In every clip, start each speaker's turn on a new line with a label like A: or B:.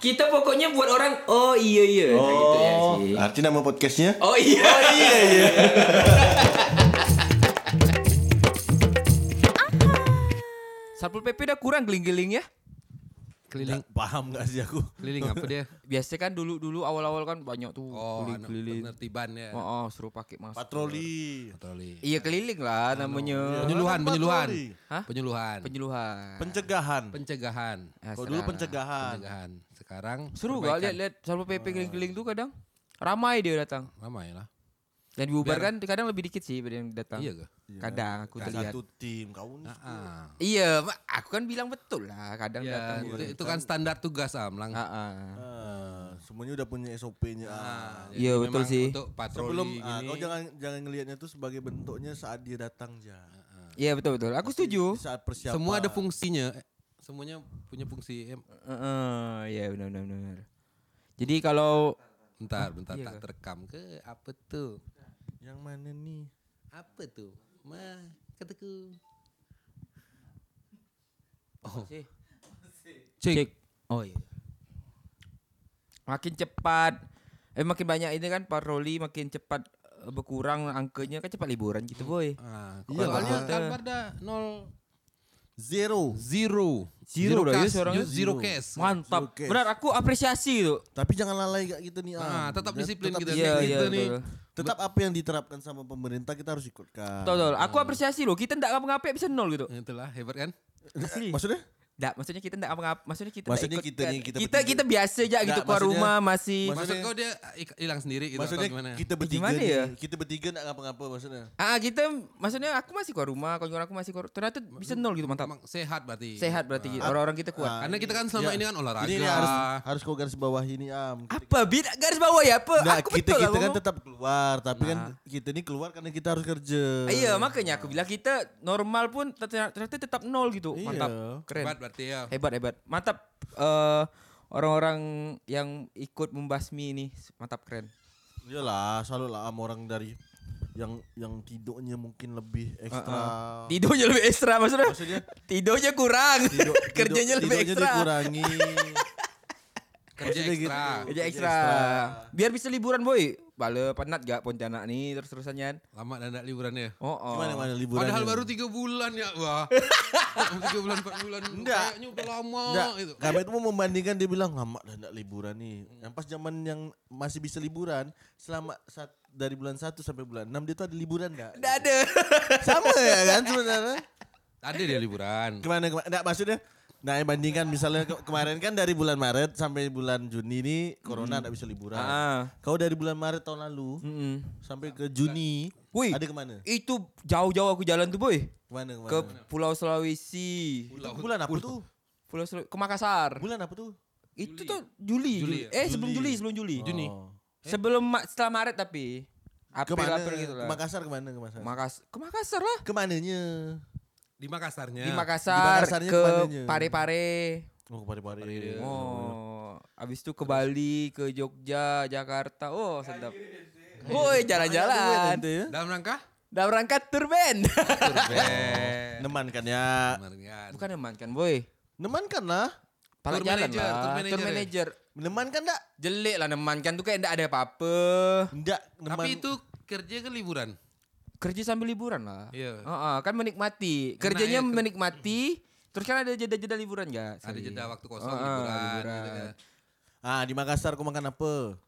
A: Kita pokoknya buat orang oh iya iya Nah, gitu ya
B: Oh,
A: sih.
B: arti nama podcastnya?
A: Oh iya iya iya.
C: Satpol PP udah kurang geling-geling ya? Keliling
D: Nggak paham gak sih aku?
C: keliling apa dia? Biasanya kan dulu-dulu awal-awal kan banyak tuh
E: Oh, anak
C: keliling-keliling.
E: penertiban ya.
C: Oh, oh, suruh pakai masker.
D: Patroli.
E: Patroli.
C: Iya keliling lah namanya.
E: Penyuluhan,
D: Kan
E: penyuluhan.
D: patroli.
C: Hah?
E: Penyuluhan.
C: Penyuluhan.
D: Pencegahan.
E: Pencegahan.
C: Ya,
D: Kalau dulu
C: sekarang.
D: pencegahan.
E: Pencegahan. Sekarang
C: Seru ya,
E: perbaikan.
C: gak lihat-lihat Satpol PP
A: Oh.
C: keliling-keliling tuh kadang ramai dia datang.
E: Ramai ya lah.
C: Dan dibubarkan kadang lebih dikit sih daripada yang datang.
E: Iya ke?
C: Kadang aku terlihat.
D: Satu tim kau ini.
E: Ah,
C: Iya, Mak, aku kan bilang betul lah kadang
E: ya,
C: datang.
E: itu, itu kan standar tugas am lang.
C: Iya, Ah, ah.
D: Ah, semuanya udah punya SOP-nya. Ah.
E: Jadi
C: Iya, betul
E: memang
C: sih.
E: Untuk patroli
D: Sebelum ah,
E: gini.
D: kau jangan jangan ngelihatnya tuh sebagai bentuknya saat dia datang aja.
C: Iya Ya, betul betul. Aku setuju.
D: Saat persiapan.
E: semua ada fungsinya. Eh, Semuanya punya fungsi. Eh,
C: Heeh, iya benar benar benar. Jadi kalau
E: bentar, bentar
C: iya
E: tak terekam ke apa tuh?
D: Yang mana nih?
E: Apa tuh? Ma, kataku.
C: cek. Oh iya. Makin cepat eh makin banyak ini kan patroli makin cepat eh, berkurang angkanya kan cepat liburan gitu boy.
E: Ah,
D: Iya,
E: soalnya
C: ah.
E: Kalbar dah nol
D: Zero.
E: zero.
C: Zero dah ya
E: case,
C: suaranya.
E: Zero case.
C: Mantap.
D: Zero case.
C: Benar aku apresiasi itu.
D: Tapi jangan lalai kayak gitu nih.
E: Ah,
D: Am.
E: tetap
D: Dan
E: disiplin kan.
D: tetap
E: kita.
C: Iya,
D: disiplin
C: iya,
D: kita nih.
C: betul.
D: Tetap apa yang diterapkan sama pemerintah kita harus ikutkan.
C: Betul betul. Aku apresiasi loh. Kita enggak ngapa-ngapain bisa nol gitu.
E: Itulah hebat kan?
C: Asli.
D: Maksudnya?
C: Enggak, maksudnya kita enggak ngapa maksudnya kita nggak
D: Maksudnya
C: ikut
D: kita
C: kan.
D: nih, kita
C: kita,
D: bertiga.
C: kita biasa aja
D: Nggak,
C: gitu keluar
D: maksudnya-
C: rumah masih
D: Maksudnya-
E: Maksud kau dia ik- hilang sendiri gitu
D: maksudnya
E: atau gimana?
D: kita bertiga
C: Gimana ya?
D: nih, Kita bertiga enggak ngapa-ngapa maksudnya.
C: Ah kita maksudnya aku masih keluar rumah, kawan-kawan aku masih keluar. Ternyata bisa nol gitu mantap.
E: Emang sehat
D: iya.
E: berarti.
C: Sehat berarti
D: Ah.
C: orang-orang kita kuat.
E: Karena kita kan selama
D: Ya.
E: ini kan olahraga.
D: Ini, ini harus harus kau garis bawah ini am.
C: Apa bid garis bawah ya apa?
D: Nah,
C: aku
D: kita
C: betul lah
D: kita kan
C: ngomong.
D: tetap keluar, tapi kan
E: Nah.
D: kita ini keluar karena kita harus
C: Ah,
D: kerja.
C: Iya makanya aku bilang kita normal pun ternyata ternyata tetap nol gitu.
D: Iya.
C: Mantap. Keren.
E: Hebat berarti ya.
C: Hebat hebat. Mantap eh, orang-orang yang ikut membasmi ini. Mantap keren.
D: Iyalah, selalu lah am orang dari yang yang tidurnya mungkin lebih ekstra.
C: Tidurnya lebih ekstra maksudnya.
D: Oh. Maksudnya?
C: Tidurnya kurang.
D: Tidur- tidur-
C: Kerjanya lebih
D: tidurnya
C: ekstra.
D: dikurangi.
E: Kerja
D: Maksudnya
E: ekstra.
D: gitu.
C: Kerja ekstra. Biar bisa liburan boy. Bale penat gak Pontianak nih terus-terusannya.
E: Lama dan ada liburannya.
C: Oh, oh.
D: Gimana mana liburan?
E: Padahal baru 3 bulan ya. Wah. 3 bulan 4 bulan.
D: Enggak.
E: Kayaknya udah lama
D: Enggak,
E: gitu.
D: kami itu mau membandingkan dia bilang lama dah enggak liburan nih. Yang pas zaman yang masih bisa liburan selama sat- dari bulan 1 sampai bulan 6 dia tuh ada liburan enggak?
C: Nggak ada.
D: Sama ya kan sebenarnya.
E: Ada dia liburan.
D: Kemana kemana? Enggak maksudnya Nah, yang bandingkan misalnya ke- kemarin kan dari bulan Maret sampai bulan Juni ini corona enggak bisa liburan.
C: Hmm. Ah.
D: Kau dari bulan Maret tahun lalu
C: Mm-mm.
D: sampai ke Juni
C: Wih.
D: ada kemana?
C: Itu jauh-jauh aku jalan tuh boy.
D: Kemana kemana?
C: Ke Pulau Sulawesi.
D: Itu bulan apa tuh?
C: Pulau Sulaw- ke Makassar.
D: Bulan apa tuh?
C: Itu tuh Juli. Juli. Eh sebelum Juli, sebelum Juli. Eh?
E: Juni.
C: Sebelum ma- setelah Maret tapi. April
D: Kemana?
C: April gitu lah.
D: Oh. Ke Makassar kemana ke Makassar?
C: Makas ke Makassar lah.
D: Kemananya?
E: Di Makassarnya.
C: Di Makassar
D: Makassarnya
C: ke
D: kemananya?
C: Pare-Pare.
D: Oh, ke Pare-Pare.
C: Oh, habis itu ke Bali, ke Jogja, Jakarta. Oh, sedap. Woi,
D: ya,
C: jalan-jalan.
E: Dalam rangka?
C: Dalam rangka tour band.
D: Neman kan ya.
E: Kemarin.
C: Bukan emang kan, boy.
D: Neman kan lah.
C: Pala
E: Tour
C: jalan
E: manager,
C: lah.
E: tour
C: Tour
E: manager ya?
C: manager.
D: Neman kan enggak?
C: Jelek lah nemankan tuh kayak enggak ada apa-apa.
D: Enggak. Neman.
E: Tapi itu kerja ke liburan.
C: Kerja sambil liburan lah.
E: Iya.
C: Heeh, kan menikmati. Kerjanya
E: ya, ker-
C: menikmati. Terus kan ada jeda-jeda liburan enggak?
E: Ada jeda waktu kosong
C: Ah,
E: liburan.
C: liburan.
E: gitu kan.
D: Ah, di Makassar kau makan apa?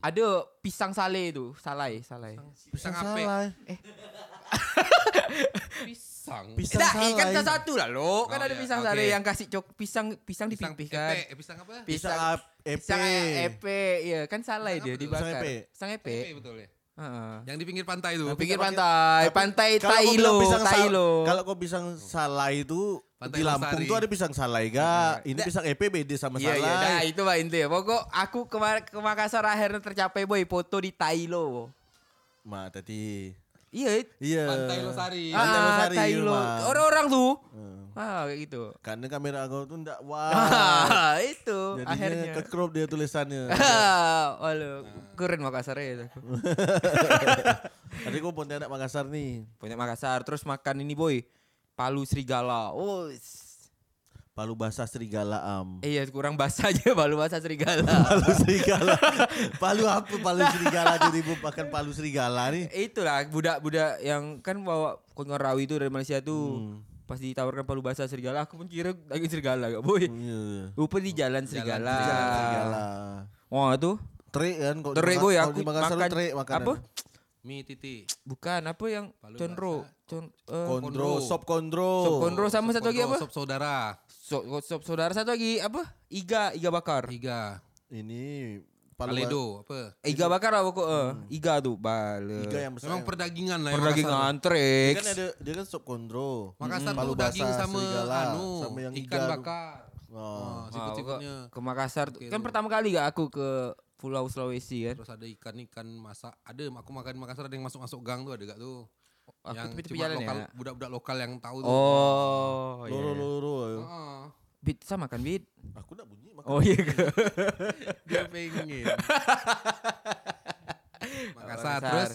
C: Ada pisang sale itu, salai, salai.
E: Pisang ape.
D: salai.
C: Eh,
E: Pisang.
D: Pisang
C: Tidak,
D: salai.
C: Eh, ikan satu lah lo. Kan
E: Oh,
C: ada
E: iya,
C: pisang
E: oke.
C: sale yang kasih cok pisang pisang
E: Pisang
C: dipipih kan.
E: epe. Eh, Pisang apa?
D: Pisang ap- epe.
C: Pisang epe, ya kan salai
E: Pisang
C: dia
E: apa tuh?
C: dibakar.
D: Pisang epe.
C: Pisang epe.
E: Epe betul ya.
C: Heeh.
E: Yang di pinggir pantai itu.
C: Pinggir
D: Tapi-
C: pantai, pantai
D: Kalau kau bilang
C: Tailo,
D: pisang sal-
C: Tailo.
D: Kalau kau pisang salai itu
E: Pantai
D: di Lampung
E: Losari.
D: tuh ada pisang salai ga? Ini pisang EP beda sama
C: Iya,
D: salai.
C: iya, nah, itu lah intinya. Pokok aku ke, Mar- ke Makassar akhirnya tercapai boy foto di Tailo.
D: Ma tadi.
C: Iya,
D: Iya.
E: Pantai Losari.
D: Pantai
C: ah,
D: Losari,
C: Tailo.
D: Mak.
C: Orang-orang
D: Oh.
C: tuh, ah kayak gitu.
D: Karena kamera kau tuh enggak wah.
C: Ah, itu
D: Jadinya Ah.
C: akhirnya.
D: ke crop dia tulisannya.
C: Waduh, keren Makassar ya. itu.
D: Tadi kau Pontianak Makassar nih.
C: Punya Makassar terus makan ini boy, palu serigala. Oh,
D: Palu Basah Serigala Am.
C: Eh, Iya kurang bahasa aja palu bahasa serigala.
D: Palu Serigala. palu apa? Palu Serigala jadi ibu makan kan Palu Serigala nih.
C: Itulah budak-budak yang kan bawa kunyor rawi itu dari Malaysia
D: Hmm.
C: tuh pas ditawarkan palu bahasa serigala aku pun kira lagi serigala gak boy.
D: Iya.
C: Rupa di jalan serigala.
D: Serigala. serigala.
C: Wah itu
D: Terik kan kalau
C: Terik
D: dimakan-
C: boy
D: kalau
C: aku
D: dimakan
C: makan
D: selalu terik makanan.
C: apa?
E: Mie titi.
C: Bukan apa yang
E: Palu
C: condro, con, eh,
D: Kondro,
E: Kondro.
D: sop kondro.
C: sop condro sama satu lagi
E: Kondro,
C: apa?
E: Sop saudara.
C: Sop, sop saudara satu lagi apa? Iga, iga bakar.
E: Tiga.
D: Ini Palu
E: Aledo apa?
C: Iga bakar apa kok? eh, iga tuh bale.
D: Iga yang besar.
E: Memang perdagingan lah. ya, yang
C: Perdagangan
D: Dia
C: trix.
D: kan ada dia kan sop kondro.
E: Makassar
D: Hmm. Palu
E: tuh daging
D: basah,
E: sama
D: serigala,
E: anu,
D: sama yang
E: ikan
D: iga tu.
E: bakar.
D: Oh.
E: Oh,
C: Ah,
E: sikut-sikutnya.
C: ke, ke Makassar tuh. kan pertama kali gak aku ke Pulau Sulawesi kan.
E: Terus ada ikan-ikan masak. Ada aku makan di Makassar ada yang masuk-masuk gang tuh ada gak tuh?
C: Aku
E: yang
C: tepi-tepi
E: cuma
C: jalan
E: lokal,
C: ya.
E: budak-budak lokal yang tahu tuh.
C: Oh, iya.
D: Loro loro. ayo.
E: Ah,
C: Bit sama kan Bit?
D: Aku nak bunyi makan.
C: Oh iya. ke-
E: dia pengen.
C: Makassar.
E: Makassar terus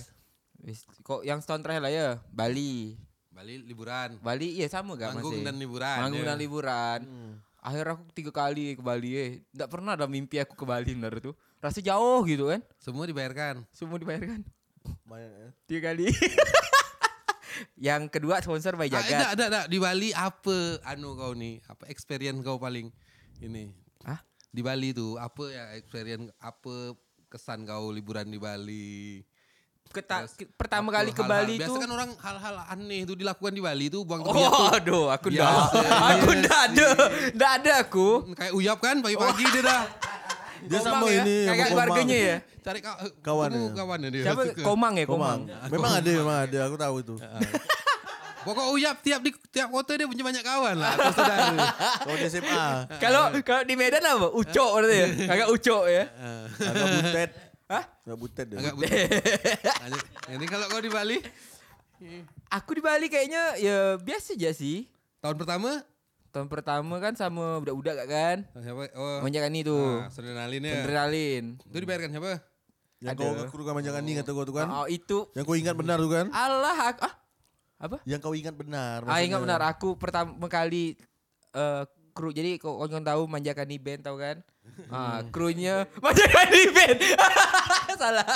C: Wis, Kok yang setahun terakhir lah ya? Bali.
E: Bali liburan.
C: Bali iya sama gak
E: Manggung
C: masih?
E: dan liburan.
C: Manggung
E: ya.
C: dan liburan.
D: Hmm.
C: Akhirnya aku tiga kali ke Bali eh. Nggak pernah ada mimpi aku ke Bali benar tuh. Rasa jauh gitu kan.
E: Semua dibayarkan.
C: Semua dibayarkan.
D: Main, eh.
C: Tiga kali. yang kedua sponsor by
E: Ah, eh, tak,
C: Jagat.
E: tak, tak. Di Bali apa anu kau ni? Apa experience kau paling ini?
C: Hah?
E: Di Bali tu apa ya experience apa kesan kau liburan di Bali?
C: Keta- ke- pertama
E: Apa
C: kali ke
E: hal-hal-
C: Bali
E: Biasa
C: tuh.
E: kan orang hal-hal aneh tuh dilakukan di Bali tuh buang
C: Oh,
E: durian tuh.
C: aduh, aku
E: Biasa,
C: dah. aku
E: iya
C: dah ada. Dah ada aku.
E: Kayak uyap kan pagi-pagi
C: Oh.
E: dia dah.
D: Dia
C: Komang
D: sama
C: ya?
D: ini sama
C: Kakak
D: Komang.
C: keluarganya ya.
E: Cari kau
D: Kawan
E: kamu
D: dia.
E: kawan dia.
C: Siapa?
E: Iya, Suka.
C: Komang ya,
D: Komang.
C: Komang.
D: Memang ada, memang ada. Aku tahu itu.
E: Pokok uyap tiap di tiap kota dia punya banyak kawan lah. Kau sedar.
D: Kalau di SMA,
C: Kalau kalau di Medan apa? Ucok berarti ya. Kakak ucok ya.
D: agak butet.
C: Hah?
D: Agak butet dia.
E: Agak butuh. Ya, Ini kalau kau di Bali
C: Aku di Bali kayaknya ya biasa aja sih.
E: tahun pertama
C: Tahun pertama kan sama budak-budak kak kan.
E: siapa? Oh,
C: Menjakan itu.
E: Ah, adrenalin ya.
C: Adrenalin.
E: Itu dibayarkan siapa?
D: Yang kau
C: Ada.
D: kerukan manjakan ni kata kau tu kan.
C: Oh, itu
D: Yang kau ingat benar tu kan?
C: Allah aku, ah, apa?
D: Yang kau ingat benar.
C: Ah ingat
D: maksudnya.
C: benar aku pertama kali eh kru jadi kau kau tahu manjakan di band tahu kan? Ah krunya manjakan di band. Salah.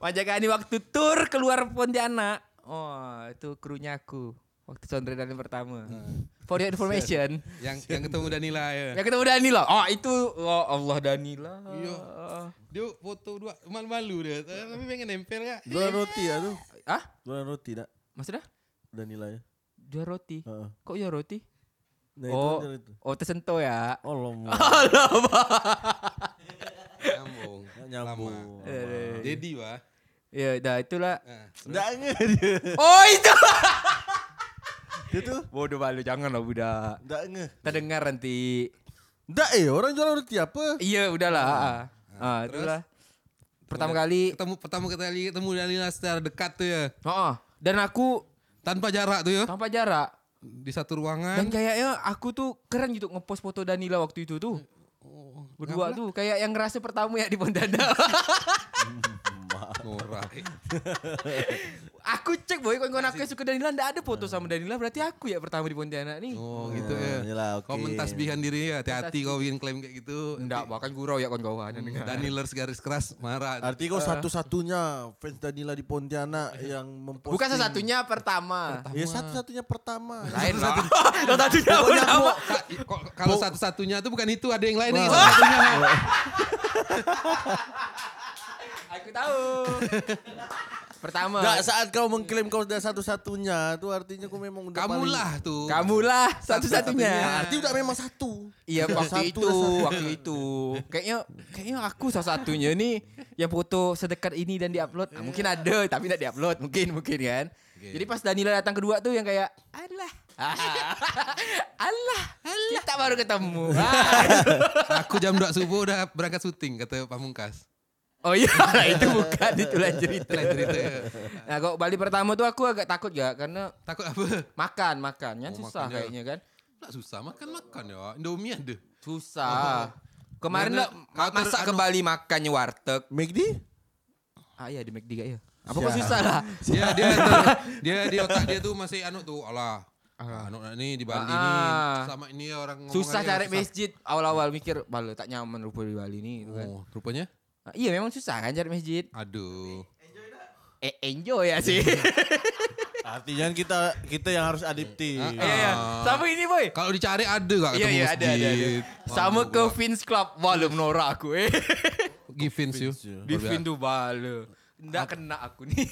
C: manjakan di waktu tur keluar Pontianak. Oh, itu krunya aku waktu Sondredan pertama. For your information.
E: Yang yang ketemu Danila ya.
C: Ya ketemu Danila. Oh, itu oh, Allah Danila.
E: Iya. Dia foto dua malu-malu dia. Tapi pengen nempel ya.
D: Jualan roti lah tu.
C: Ah,
D: Jualan roti tak?
C: maksudnya?
D: Dan nilai.
C: Jual roti.
D: Ha.
C: Kok jual roti?
D: Nah, itu
C: Oh,
D: jual itu.
C: oh tersentuh ya.
D: Allah.
E: Nyambung.
D: Nyambung.
E: Lama. Jadi wah.
C: Ya, dah itulah.
E: Ah.
D: Tak ingat dia.
C: Oh, itu.
D: Dia tu
C: Bodoh balu janganlah budak.
D: tak ingat.
C: Terdengar nanti.
D: Tak eh orang jualan roti apa?
C: Iya, udahlah. Ah, ah. Ah,
E: terus?
C: itulah. Pertama kali.
E: Ketemu pertama kali ketemu Danila secara dekat tuh ya.
C: Heeh. Dan aku
E: Tanpa jarak tuh ya.
C: tanpa jarak.
E: Di satu
C: Dan
E: ruangan.
C: kayaknya aku tuh keren gitu ngepost foto Danila waktu itu tuh.
E: Oh,
C: Berdua tuh kayak yang ngerasa pertama ya di Pondana.
E: Norak.
C: aku cek boy kawan-kawan aku yang suka Danila ndak ada foto sama Danila berarti aku ya pertama di Pontianak nih.
E: Oh gitu ya.
D: Ah, Yalah,
E: Kau
D: okey.
E: mentasbihkan diri ya. Hati-hati kau bikin klaim kayak gitu.
C: Ndak bahkan gurau ya kawan-kawan.
E: Hmm. Danilers garis keras marah.
D: Arti kau satu-satunya fans Danila di Pontianak yang memposting.
C: Bukan salah satunya pertama.
D: Ya satu-satunya pertama.
C: Lain lah. Salah satunya pertama.
E: Ka- ko- Kalau satu-satunya tuh bukan itu, ada yang lain lagi.
C: Aku tahu. Pertama.
D: Tak saat kau mengklaim kau dah satu-satunya tu artinya kau memang udah
E: Kamu
D: paling- ya,
E: lah tuh.
C: Kamulah
E: Satu-satunya.
C: satu-satunya.
D: Arti udah memang satu.
C: Iya
D: Udah
C: waktu
D: satu
C: itu,
D: dah satu.
C: waktu itu. Kayaknya kayaknya aku salah satunya nih yang foto sedekat ini dan diupload. Ah, mungkin ada tapi tidak diupload, mungkin mungkin kan. Jadi pas Danila datang kedua tuh yang kayak Allah. Allah. Kita baru ketemu. Ah.
E: Aku jam 2 subuh udah berangkat syuting kata Pamungkas.
C: Oh iya, lah, itu bukan itu lain cerita.
E: Lain cerita. ya.
C: Nah, kalau Bali pertama tuh aku agak takut ya karena
E: Takut apa?
C: makan makannya
E: Oh,
C: susah
E: makannya.
C: kayaknya kan.
E: Nak susah makan-makan ya. Indomie ada.
C: Susah. Kemarin lah
E: Mana-
C: ma-
E: kau ter-
C: masak ke
E: anu-
C: Bali makannya warteg.
D: McD?
C: Ah iya di McD gak ya? Apa kok
D: Siap.
C: susah lah?
E: Dia dia ter- dia di otak dia tuh masih anu tuh alah. Ah, anak-anak ni di Bali
C: Ah,
E: ni
C: ah.
E: selama ini orang ngomong
C: Susah
E: aja
C: cari masjid awal-awal mikir balu tak nyaman rupa di Bali nih gitu kan.
E: Oh, rupanya
C: Ah, Iya memang susah kan cari masjid.
E: aduh.
C: Eh enjoy ya sih.
D: Artinya kita kita yang harus adaptif.
C: Iya iya. Sama ini boy.
E: Ah. Kalau dicari ada gak
C: Iya
E: ketemu
C: iya ada ada. ada.
E: masjid?
C: Sama
E: Waduh,
C: ke Vince Club balu menora aku eh.
E: Givens you.
C: Di Vin tuh balu. Nggak kena aku nih.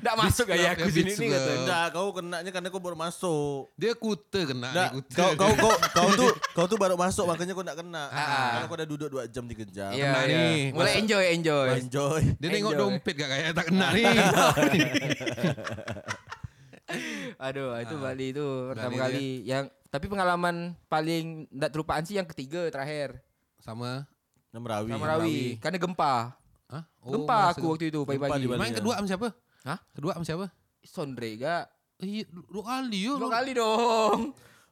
C: Nggak masuk
E: Club
C: gaya aku
E: ya,
C: sini
E: Vince
C: nih kata.
E: Club.
D: Enggak, kau kenanya karena kau baru masuk.
E: Dia kuta kena
D: Enggak,
E: dia kuta.
D: kau, kau kau kau tuh kau tuh baru masuk makanya kau enggak kena.
C: Ah.
D: Karena kau udah duduk 2 jam 3 jam.
C: Iya
E: kena
C: iya.
E: nih.
C: Mulai
E: Masa-
C: enjoy enjoy.
D: Enjoy.
E: Dia tengok
C: Enjoy.
E: dompet gak kayak tak kena ni.
C: Aduh, itu
D: Ah,
C: Bali itu pertama
D: ya.
E: Bali
C: kali yang tapi pengalaman paling tidak terlupakan sih yang ketiga terakhir
E: Sama
D: Namrawi.
C: sama Rawi karena gempa.
E: Hah? Oh,
C: Gempa
E: masa
C: aku
E: gempa.
C: waktu Ha? itu
D: Gempa di
C: pagi-pagi.
D: Bali.
E: Main
D: Balinya.
E: kedua sama siapa?
C: Hah?
E: Kedua sama siapa?
C: Sondre gak?
E: Eh, dua kali yo.
C: Dua kali dong.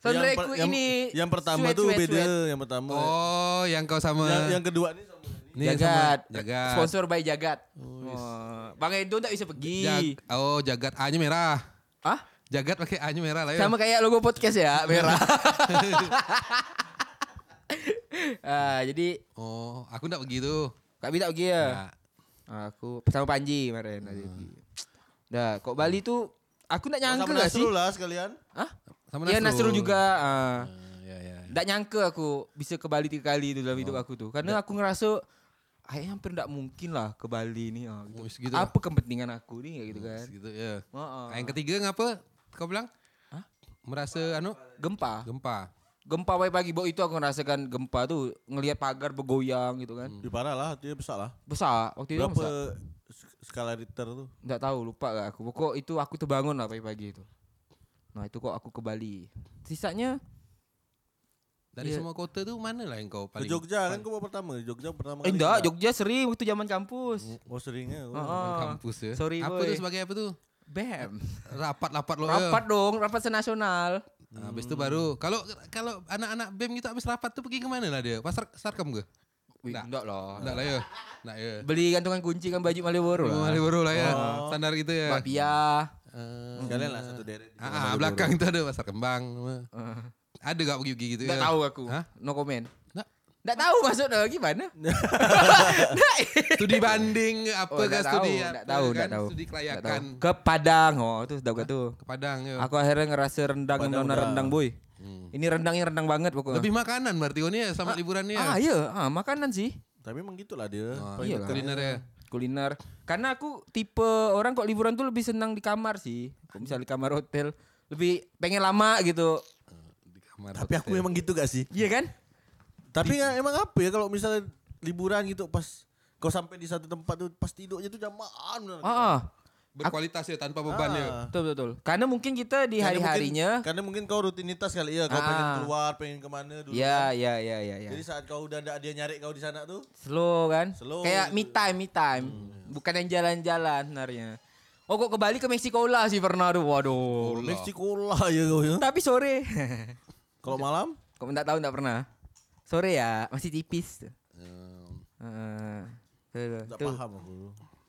C: Sondre
D: per-
C: ku ini.
D: yang pertama
C: sweat,
D: tuh
C: sweat,
D: beda,
C: sweat.
D: yang pertama.
E: Oh, yang kau sama.
D: Yang, yang kedua ini sama Oh,
E: Ni
C: Jagat.
E: sama Jagat.
C: Sponsor by Jagat. Wah, Bang Edo tak bisa pergi.
E: Jag- oh, Jagat A-nya merah.
C: Hah?
E: Jagat pakai A-nya merah
D: Eh.
E: lah ya.
C: Sama kayak logo podcast ya, merah. Ah, jadi
E: Oh, aku enggak begitu.
C: Kak Bita pergi ya?
E: Nah,
C: Aku sama Panji kemarin tadi. Dah, kok Bali tuh aku nggak nyangka
D: sama
C: gak sih?
D: Nasrul lah sekalian.
C: Hah?
E: sama
C: Iya Nasrul juga. ah.
E: Ah, ya, ya.
C: Nggak nyangka aku bisa ke Bali tiga kali itu dalam hidup aku tuh. Karena aku ngerasa kayaknya hampir nggak mungkin lah ke Bali nih. ah, gitu.
E: Oh, segitu lah.
C: Apa kepentingan aku nih kayak gitu kan?
E: Gitu ya.
C: Ah, Ha? ah.
E: Yang ketiga ngapa? Kau bilang?
C: Hah?
E: Merasa anu
C: Gempa.
E: gempa.
C: Gempa pagi-pagi Bawa itu aku ngerasakan gempa tuh ngelihat pagar bergoyang gitu kan.
D: Lebih parah lah, dia besar lah.
C: Besar waktu itu Iya, besar.
D: Hmm. Berapa sk- skala Richter tuh?
C: Nggak tahu lupa gak aku. Pokok itu aku terbangun lah pagi-pagi itu. Nah itu kok aku ke Bali. Sisanya
E: Dari
C: Iya.
E: semua kota tu mana lah yang kau
D: Ke
E: paling?
D: Jogja kan kau baru pertama, Jogja pertama
C: Eh, enggak, Jogja sering waktu zaman kampus.
D: Oh seringnya.
C: Ah,
D: Oh.
C: ah.
E: kampus ya.
C: Sorry,
E: apa
C: boy.
E: tu sebagai apa tu?
C: BEM.
E: Rapat-rapat lo.
C: Rapat dong, rapat senasional.
E: Ya. Ah, habis tu
C: Hmm.
E: baru kalau kalau anak-anak BEM gitu habis rapat tu pergi ke mana lah dia? Pasar Sarkem ke?
C: Wih,
E: Nggak.
C: enggak lah.
E: Enggak lah ya. Enggak ya.
C: Beli gantungan kunci kan baju Malioboro
E: Oh,
C: lah. Oh.
E: Malioboro lah ya. Standar gitu ya.
C: Bapia.
E: Eh,
D: Sekalian lah satu deret. di
E: ah, ah,
D: Malioboro.
E: belakang itu ada pasar kembang. Ada gak pergi-pergi gitu
C: Eh. Enggak
E: ya?
C: tahu aku.
E: Hah?
C: No comment.
E: Nggak.
C: Enggak tahu maksudnya gimana?
E: Studi banding apa
C: Oh,
E: ke
C: enggak tahu,
E: studi
C: enggak
E: apa
C: tahu,
E: kan?
C: enggak tahu.
E: Studi
C: Nggak
E: kelayakan
C: tahu. Ke Padang. Oh, itu sudah gitu.
E: ke Padang ya.
D: Iya.
C: Aku akhirnya ngerasa rendang yang benar
D: Padang udah. Hmm.
C: rendang, boy. Ini rendangnya rendang banget pokoknya.
E: Lebih makanan berarti oh, ni ya sama liburannya.
C: Ah, iya, ah, makanan sih.
D: Tapi emang gitulah dia.
E: Ah,
D: Paling
C: iya
D: dekat.
E: kuliner ya.
C: kuliner karena aku tipe orang kok liburan tuh lebih senang di kamar sih kok misalnya di kamar hotel lebih pengen lama gitu
E: Di kamar
D: Tapi aku
E: hotel.
D: memang gitu gak sih?
C: iya kan
D: Tapi ya, emang apa ya kalau misalnya liburan gitu pas kau sampai di satu tempat tuh pas tidurnya tuh jamaan. bener.
C: ah ah.
E: berkualitas ya tanpa beban ya.
D: Ah.
C: betul betul betul. karena mungkin kita di
D: Karena
C: hari
D: mungkin- kan
C: harinya
D: Karena mungkin kau rutinitas kali ya, kau
C: Ah.
D: pengen keluar, pengen kemana dulu.
C: ya ya ya ya ya
D: Jadi saat kau udah ada dia nyari kau di sana tuh,
C: slow kan
D: Slow
C: kayak
D: iya. gitu.
C: me time me time bukan yang jalan-jalan sebenarnya oh kok ke Bali ke Meksiko lah sih pernah tuh waduh
D: Meksiko lah ya kau ya.
C: tapi sore Iya.
D: Kalau malam,
C: kok enggak tahu enggak pernah sore ya masih tipis tuh Heeh. Tuh,
D: enggak
C: tuh.
D: paham aku.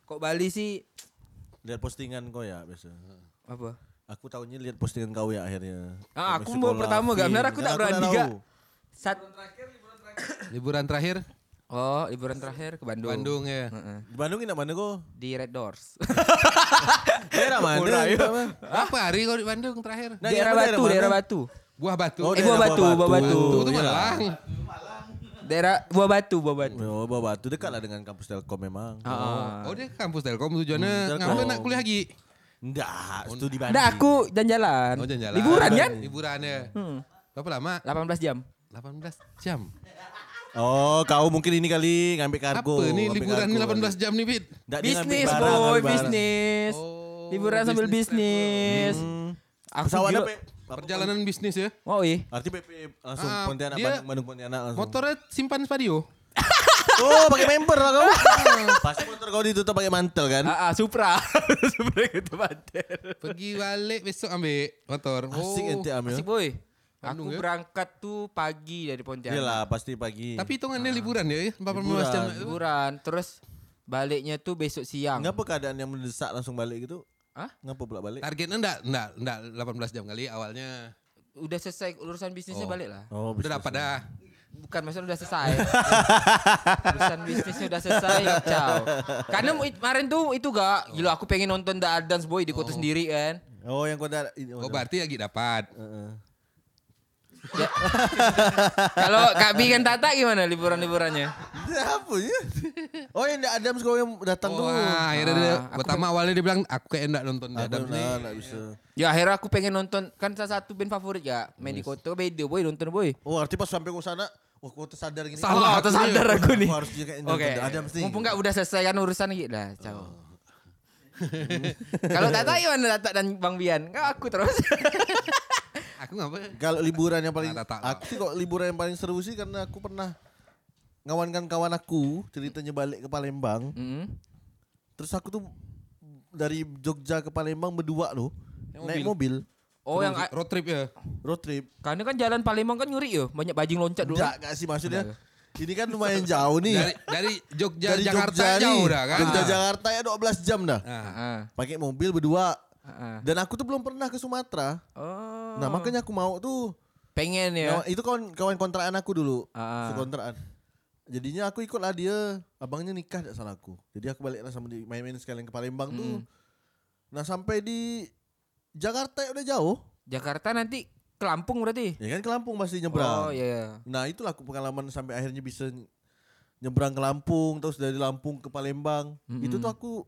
C: kok Bali sih
D: Lihat postingan kau ya biasa.
C: apa
D: Aku tahunya lihat postingan kau ya akhirnya.
C: Ah, aku
D: Meksiko
C: mau
D: lah,
C: pertama gak
D: Vin.
C: benar aku
D: Kan
C: tak berani gak.
D: tahu.
C: Sat
E: Liburan terakhir
C: Oh, liburan terakhir ke Bandung.
E: Bandung ya.
C: Heeh.
D: Di Bandung ini mana kau?
C: Di Red Doors.
D: Daerah mana?
C: ya?
D: Daerah mana?
E: Apa hari kau di Bandung terakhir?
D: Nah,
C: daerah
D: iya,
C: Batu,
D: daerah
C: daerah
D: mana?
C: Batu.
E: Buah Batu.
D: Oh,
C: eh, Buah
D: daerah
C: Batu,
D: Buah
C: Buah
D: Batu.
C: Batu.
E: Itu itu
D: iya lah.
E: Malang.
C: Daerah Buah Batu, Buah Batu.
D: Oh, Bawa Batu dekat lah dengan kampus Telkom memang.
C: Ah.
E: Oh, dia kampus Telkom
D: Telkom.
E: tujuannya ngapa nak kuliah lagi?
D: Enggak, itu di Bandung.
C: Nah, aku jalan-jalan.
E: Oh, jalan-jalan.
C: Liburan kan?
E: Liburan ya. Berapa lama?
C: 18 jam.
E: 18 jam.
D: Oh, kau mungkin ini kali ngambil kargo.
E: Apa nih
D: ngambil
E: liburan
D: kargo.
E: ni 18 jam nih, Bit?
D: Nggak, dia ngambil
C: Bisnis,
D: barang,
C: boy,
D: ngambil barang.
C: bisnis.
E: Oh,
C: liburan sambil
E: bisnis
C: bisnis.
D: Hmm.
C: Aku
D: Pesawat
C: gila-
D: apa?
E: Perjalanan bisnis ya.
C: Oh, iya.
D: Arti PP langsung
E: Ah,
D: Pontianak
E: dia-
D: Bandung, Bandung Pontianak langsung.
E: Motornya simpan spadio.
D: Oh, pakai member lah
E: Ah.
D: kau. Pasti motor kau ditutup pakai mantel kan?
C: Ah, ah, Supra. Supra gitu banter.
E: Pergi balik besok ambil motor. Oh.
D: Asik ente Am ya.
C: Asik, boy.
E: Bandung,
C: Aku
E: ya?
C: berangkat tuh pagi dari Pontianak.
D: Iyalah, pasti pagi.
E: Tapi hitungannya liburan ya, 18 jam.
C: liburan terus baliknya tuh besok siang
D: Kenapa keadaan yang mendesak langsung balik gitu?
C: Hah?
D: Ngapa bolak balik?
E: Targetnya enggak, enggak, enggak 18 jam kali awalnya.
C: Udah selesai urusan bisnisnya
E: Oh.
C: balik lah.
D: Oh,
E: Udah dapat dah.
C: Bukan maksudnya udah selesai. urusan bisnisnya udah selesai, ya, ciao. Karena mu- kemarin tuh itu gak gila aku pengen nonton The Dance Boy di kota sendiri kan.
D: Oh, yang kau ada. ini-
E: Oh
D: dah.
E: berarti lagi dapat.
D: Heeh.
C: Kalau Kak Bi kan Tata gimana liburan-liburannya?
D: Dia apa ya? Oh, yang ada Adam sekolah yang datang
E: Oh,
D: tuh.
E: ah, akhirnya dia,
C: Ah, aku
E: pertama awalnya dia bilang aku kayak enggak nonton di
D: Adam
E: Adam
D: lah,
E: nih.
D: nggak bisa.
C: Ya akhirnya aku pengen nonton kan salah satu band favorit ya main di kota beda boy nonton boy.
D: Oh, arti pas sampai ke sana, wah kau tersadar gini.
E: Salah,
D: Oh,
E: aku
C: tersadar
D: iya.
C: aku nih.
D: harus juga
C: Oke.
D: Oke. Adam sih.
C: Mumpung nggak udah selesai kan urusan gitu lah, ciao.
D: Oh.
C: Kalau Tata gimana Tata dan Bang Bian? Kau aku terus.
E: Aku ngapa?
D: Kalau liburan yang paling
E: Nah, tak, tak, tak.
D: aku sih kok liburan yang paling seru sih karena aku pernah ngawankan kawan aku ceritanya balik ke Palembang.
C: Mm.
D: Terus aku tuh dari Jogja ke Palembang berdua loh. naik mobil.
C: Oh yang a-
E: road trip ya.
D: road trip.
C: karena kan jalan Palembang kan nyuri yo, banyak bajing loncat dulu.
D: Enggak, enggak sih maksudnya. Ini kan lumayan jauh nih.
E: Dari dari Jogja
D: Dari
E: Jakarta
D: Jogja nih,
E: jauh dah kan.
D: Jogja
E: Ah.
D: Jakarta ya 12 jam dah.
E: Ah.
C: Heeh.
D: Pakai mobil berdua.
C: Heeh.
D: Dan aku tuh belum pernah ke Sumatera.
C: ah, Oh.
D: Nah, makanya aku mau tuh.
C: Pengen ya.
D: Nah, itu kawan kawan kontrakan aku dulu,
C: Ah.
D: sekontrakan. Jadinya aku ikutlah dia, abangnya nikah tidak salah aku. Jadi aku baliklah sama di main-main sekalian ke Palembang tuh.
C: Hmm.
D: Nah, sampai di Jakarta ya udah jauh.
C: Jakarta nanti ke Lampung berarti.
D: Ya kan ke Lampung pasti
C: Oh
D: nyebrang.
C: iya.
D: Nah, itulah aku pengalaman sampai akhirnya bisa nyebrang ke Lampung, terus dari Lampung ke Palembang.
C: Hmm.
D: Itu tuh aku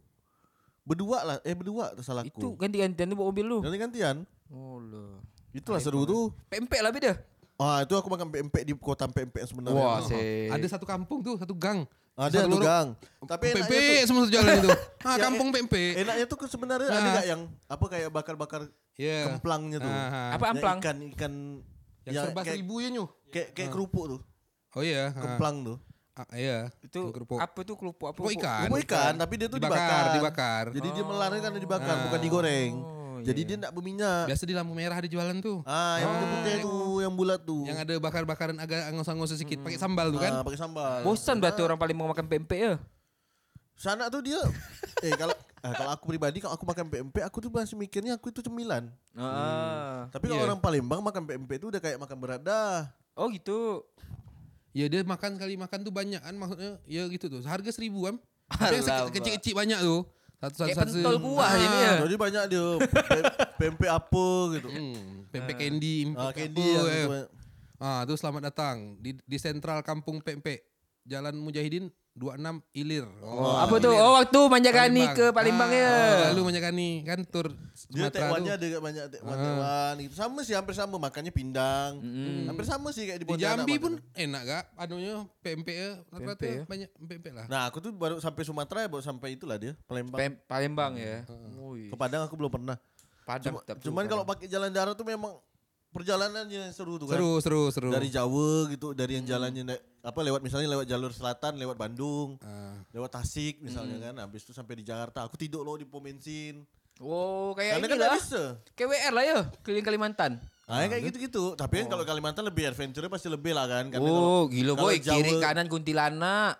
D: berdua lah, eh berdua tak salah
C: Itu
D: aku.
C: ganti-gantian tuh bawa mobil lu.
D: ganti-gantian.
C: Oh loh.
D: Itulah seru tuh.
C: Pempek lah ya? beda.
D: Wah, Ah, itu aku makan pempek di kota pempek yang sebenarnya.
C: Wah,
D: Nah.
C: sih.
E: Ada satu kampung tuh, satu gang.
D: Ada
E: Satu
D: tuh
E: lorong.
D: gang. Tapi enaknya
E: Pempek
D: tuh,
E: semua jalan itu. Ah,
D: Ya,
E: kampung
D: eh,
E: pempek.
D: enaknya tuh sebenarnya ada
E: Nah.
D: nggak yang apa kayak bakar-bakar
E: Iya.
D: kemplangnya tuh.
E: Ah,
C: Apa amplang?
D: Ikan ikan
E: Yang serba
D: kayak,
E: seribu ya nyuh.
D: kayak, kayak kerupuk tuh,
E: Oh iya. ah.
D: kemplang tuh.
E: Ah, iya.
C: Itu
E: Yang kerupuk.
C: apa tuh kelupuk apa?
E: Kerupuk ikan.
D: Kerupuk ikan, tapi dia tuh dibakar.
E: Ah, dibakar, dibakar. Oh. Ah.
D: Jadi dia melarnya karena dibakar, bukan digoreng.
C: Oh,
D: Jadi
C: iya,
D: dia enggak berminyak.
E: Biasa di lampu merah ada jualan tuh.
D: Ah, yang putih-putih tuh, yang bulat tuh.
E: Yang ada bakar-bakaran agak angos-angos sedikit pakai
C: Hmm.
E: sambal tuh kan.
D: Ah, pakai sambal. Nah,
C: Bosan berarti orang paling mau makan pempek ya.
D: Sana tuh dia eh kalau ah, kalau aku pribadi kalau aku makan pempek aku tuh masih mikirnya aku itu cemilan.
C: Ah.
D: Tapi
E: Iya.
D: kalau orang Palembang makan pempek itu udah kayak makan berat dah.
C: Oh gitu.
E: Ya dia makan sekali makan tuh banyak kan maksudnya ya gitu tuh. Harga seribu kan. Tapi yang
C: Alamak.
E: se- kecil-kecil banyak tuh. Satu satu
C: Kayak
E: satu.
C: pentol buah ini ya.
D: Nah, Jadi banyak dia pem- pempek apa gitu.
E: Hmm, pempek candy,
D: Ah,
E: import
D: candy
E: apa,
D: yang
E: eh.
D: gitu.
E: Ah, tuh selamat datang di di sentral Kampung Pempek. Jalan Mujahidin 26 Ilir.
C: Oh, apa tuh? Oh waktu manjakani ke Palembang ya.
E: Ah, Lalu Manjakani kan tur
D: Dia
E: Sumatera tuh. Ah.
D: tekwannya ada kayak banyak tekwan-tekwan gitu. Sama sih hampir sama makannya pindang. Hampir sama sih kayak di
E: Di
D: Pontianak.
E: Jambi
D: makan.
E: pun enak gak? Anunya pempek ya. Rata-rata
C: Pempek ya.
E: banyak pempek lah.
D: Nah, aku tuh baru sampai Sumatera ya, baru sampai itulah dia, Palembang.
C: Pem- Palembang ya. Wih.
D: Ke Padang aku belum pernah.
C: Padang
D: Hmm. Cuma-
C: tetap tuh,
D: cuman kalau
C: Padang.
D: pakai jalan darat tuh memang perjalanannya yang seru tuh kan.
E: Seru, seru, seru.
D: Dari Jawa gitu, dari yang jalannya naik- apa lewat misalnya lewat jalur selatan, lewat Bandung,
E: Ah.
D: lewat Tasik misalnya kan. Habis itu sampai di Jakarta, aku tidur loh di pom bensin.
C: Oh kayak
D: Karena kan
C: ini
D: nggak
C: lah.
D: bisa.
C: KWR lah ya keliling Kalimantan.
D: Ah, kayak gitu-gitu. Tapi kan kalau Kalimantan lebih adventure pasti lebih lah kan. Karena
C: Oh
D: kalau-
C: gila
D: kalau
C: boy
D: Jawa- Eh.
C: kiri kanan kuntilanak.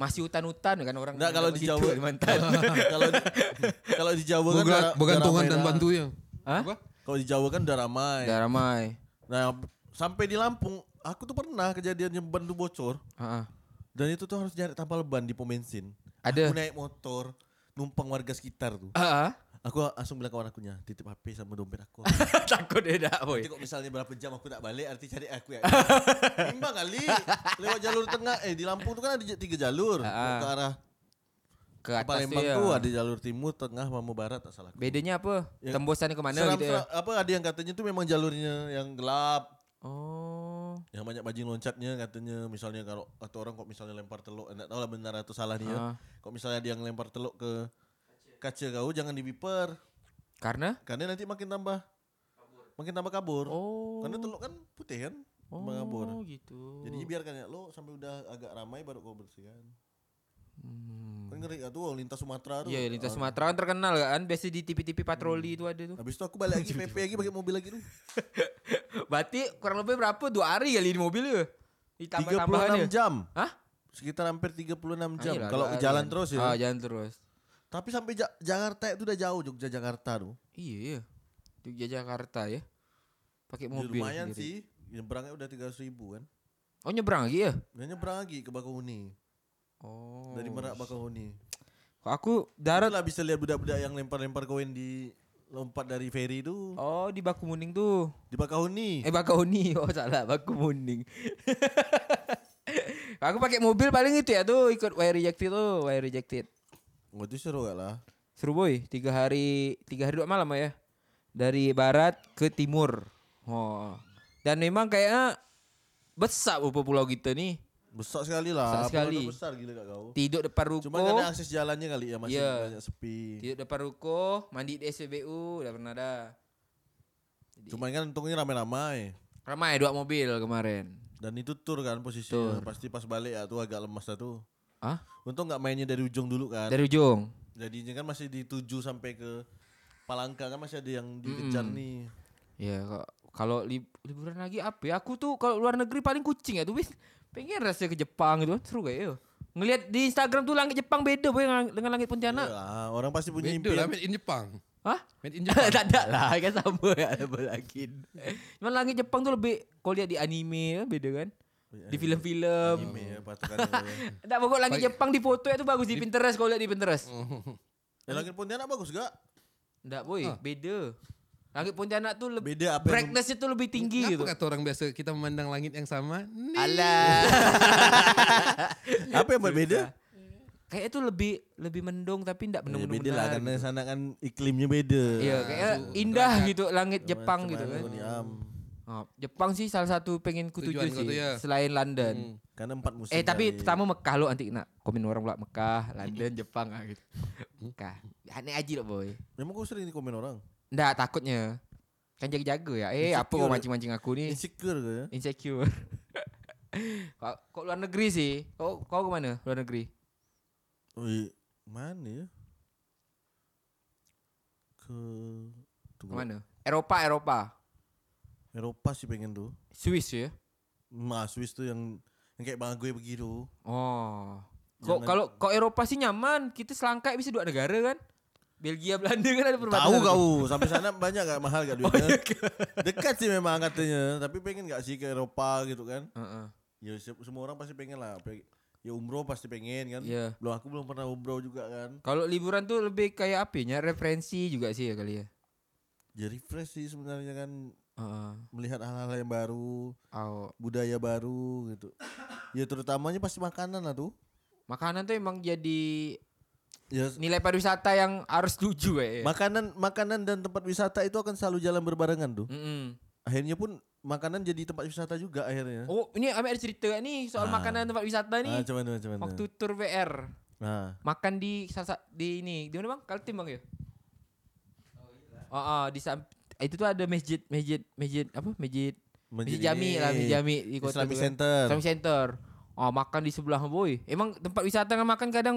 C: Masih hutan-hutan kan orang.
D: Enggak kalau di
C: gitu,
D: Jawa
C: Kalimantan.
D: kalau di, kalau di Jawa kan
E: Boga-
D: udah-
E: Bogantungan
D: udah ramai
E: dan ya.
D: dah.
E: bantunya.
C: Hah?
E: Apa?
D: Kalau di Jawa kan udah ramai.
C: Udah ramai.
D: Nah, sampai di Lampung aku tuh pernah kejadiannya ban tuh bocor
C: Ah, ah.
D: dan itu tuh harus nyari tambal ban di pom bensin.
C: Ada.
D: Aku naik motor numpang warga sekitar tuh.
C: Ah, ah.
D: Aku langsung bilang kawan akunya, titip HP sama dompet aku.
C: Takut dia dah boy.
D: Nanti kok misalnya berapa jam aku tak balik arti cari aku ya. Imbang kali lewat jalur tengah eh di Lampung tuh kan ada j- tiga jalur
C: Ah, ah.
D: Mau ke arah
C: Ke
D: ke
C: atas
D: Palembang
C: ya.
D: tuh ada jalur timur, tengah sama barat tak salah. aku.
C: Bedanya apa?
D: Ya.
C: Tembusan ke mana
D: Seram-
C: gitu ya?
D: seram- apa ada yang katanya tuh memang jalurnya yang gelap
C: Oh.
D: yang banyak bajing loncatnya katanya misalnya kalau atau orang kok misalnya lempar teluk eh, enggak tahu lah benar atau salah nih ya.
C: Ah.
D: Kok misalnya dia ngelempar teluk ke kaca kau jangan dibiper
C: Karena?
D: karena nanti makin tambah makin tambah kabur.
C: Oh.
D: Karena teluk kan putih kan, tambah kabur.
C: Oh gitu.
D: Jadi biarkan ya lo sampai udah agak ramai baru kau bersihkan.
C: Hmm.
D: Kan ngeri gak tuh lintas Sumatera tuh.
C: Iya, lintas
D: Ah.
C: Sumatera kan terkenal kan. Biasa di TV-TV
D: Hmm.
C: patroli itu ada tuh.
D: Habis itu aku balik lagi PP lagi pakai mobil lagi tuh.
C: Berarti kurang lebih berapa? Dua hari kali di mobil ya? Ditambah
D: 36
C: tambahannya.
D: jam.
C: ya? Hah?
D: Sekitar hampir 36
C: Ah,
D: jam
C: iyalah,
D: kalau
C: dua hari
D: jalan
C: kan.
D: terus ya.
C: Ah, jalan terus.
D: Tapi sampai Ja- Jakarta itu udah jauh Jogja Jakarta tuh.
C: Iya iya. Jogja Jakarta ya. Pakai
D: Ya,
C: mobil.
D: lumayan
C: sendiri.
D: sih. Nyebrangnya udah 300 ribu kan.
C: Oh nyebrang lagi ya?
D: Udah nyebrang lagi ke Bakahuni.
C: Oh.
D: Dari Merak Bakahuni.
C: Kok aku darat.
D: lah bisa lihat budak-budak yang lempar-lempar koin di lompat dari ferry itu
C: Oh di Baku Muning tuh.
D: di Bakahuni.
C: Eh Bakahuni. Oh salah Baku Muning. aku pakai mobil paling itu ya tuh ikut wire rejected tuh wire rejected.
D: Oh itu seru gak lah.
C: Seru boy, tiga hari tiga hari dua malam ya. Dari barat ke timur. Oh. Dan memang kayaknya besar apa pulau kita nih.
D: Besar sekali lah.
C: Besar sekali.
D: Pulau itu Besar gila gak kau.
C: Tidur depan ruko.
D: Cuma gak kan ada akses jalannya kali ya masih
C: Oh. Iya.
D: banyak sepi.
C: Tidur depan ruko, mandi di SPBU, udah pernah ada.
D: Cuman kan untungnya ramai-ramai.
C: Ramai dua mobil kemarin.
D: Dan itu tur kan posisinya. Pasti pas balik ya tuh agak lemas dah tuh.
C: Ah,
D: Untung nggak mainnya dari ujung dulu kan.
C: dari ujung.
D: Jadinya kan masih dituju sampai ke Palangka kan masih ada yang dikejar
C: Hmm.
D: nih.
C: Ya kok kalau lib- liburan lagi apa ya? Aku tuh kalau luar negeri paling kucing ya tuh wis. Pengen rasanya ke Jepang gitu kan seru kayak yo. Ngelihat di Instagram tuh langit Jepang beda boy dengan dengan langit Pontianak.
D: Iyalah, Ya, orang pasti punya
E: Beda
D: impian.
E: lah made in Jepang.
C: Hah?
E: Made in Jepang.
C: tak ada lah kan sama ya apa lagi. Cuman langit Jepang tuh lebih kalau lihat di anime ya, beda kan. Di film-film.
D: Anime ya, patokan gue.
C: Tak pokok langit Jepang di foto itu bagus di Pinterest kalau lihat di Pinterest.
D: Ya langit Pontianak bagus gak?
C: Enggak boy, beda. Langit Pontianak tuh lebih
D: Beda apa yang-
C: brightness itu lebih tinggi gitu.
E: Kenapa kata orang biasa kita memandang langit yang sama? Nih.
C: Alah.
D: Apa yang buat beda?
C: Kayaknya tuh lebih lebih mendung tapi enggak
D: Ya,
C: mendung-mendung.
D: beda lah
C: benar
D: karena
C: gitu.
D: sana kan iklimnya beda.
C: Iya, kayaknya indah gitu langit Jepang gitu kan. Oh, Jepang sih salah satu pengen kutuju
E: Tujuan kau
C: sih
E: tu, ya.
C: selain London.
E: Hmm.
D: Karena empat musim.
C: Eh tapi
D: kali.
C: pertama Mekah lo nanti nak komen orang pula Mekah, London, Jepang ah gitu. Mekah. Aneh aja loh lah, boy.
D: Memang kau sering komen orang.
C: Enggak takutnya. Kan jaga-jaga ya. Eh apa kau
D: Insecure.
C: mancing-mancing aku nih?
D: Insecure ke ya?
C: Insecure. kok, kok luar negeri sih? Kok kau kemana? Luar negeri.
D: Wih, mana ya? Ke Tunggu.
C: Kemana? Eropa, Eropa.
D: Eropa sih pengen tuh.
C: Swiss ya.
D: Nah, Swiss tuh yang yang kayak Bang Agoy pergi tuh.
C: Oh. Kok
D: Jangan-
C: kalau kok Eropa sih nyaman. Kita selangkai bisa dua negara kan? Belgia, Belanda kan ada perbatasan.
D: Tahu
C: tuh. Oh, iya,
D: kau, sampai sana banyak gak mahal gak duitnya. Dekat sih memang katanya, tapi pengen gak sih ke Eropa gitu kan?
C: Heeh.
D: Ya se- semua orang pasti pengen lah. Pe- Ya umroh pasti pengen kan.
C: Iya.
D: Belum aku belum pernah umroh juga
C: Ya.
D: kan.
C: Kalau liburan tuh lebih kayak apa ya? Referensi juga sih ya kali ya.
D: Ya refresh sih sebenarnya kan
C: Heeh.
D: melihat hal-hal yang baru,
C: Oh.
D: budaya baru gitu. Ya terutamanya pasti makanan lah tuh.
C: Makanan tuh emang jadi
D: Ya s-
C: nilai pariwisata yang harus tuju ya.
D: makanan makanan dan tempat wisata itu akan selalu jalan berbarengan tuh.
C: Mm-mm.
D: Akhirnya pun makanan jadi tempat wisata juga akhirnya.
C: Oh, ini Amir ada cerita nih soal
D: Ah.
C: makanan tempat wisata nih.
D: Ah, cuman, cuman, cuman.
C: waktu tur VR.
D: Nah,
C: Makan di salah sa- di ini. Di mana Bang? Kaltim Bang ya? Oh, oh, di sam- itu tuh ada masjid, masjid, masjid apa? Masjid Masjid Jami lah, Masjid Jami di kota tu
D: Islamic
C: kan.
D: Center.
C: Islamic Center. Oh, makan di sebelah boy. Emang tempat wisata kan makan kadang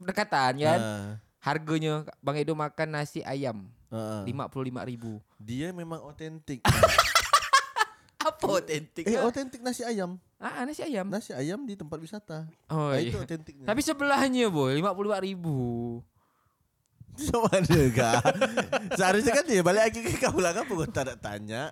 C: berdekatan kan.
D: Nah,
C: Harganya Bang Edo makan nasi ayam
D: ah, ah.
C: 55 ribu.
D: Dia memang otentik.
C: Apa otentik?
D: eh,
C: ah?
D: otentik nasi ayam.
C: Ah, nasi ayam.
D: Nasi ayam di tempat wisata.
C: Oh,
D: Nah,
C: iya.
D: itu otentiknya.
C: Tapi sebelahnya boy, 55 ribu.
D: Sama juga. Seharusnya kan dia balik lagi ke kau lah kenapa kau tak ada tanya.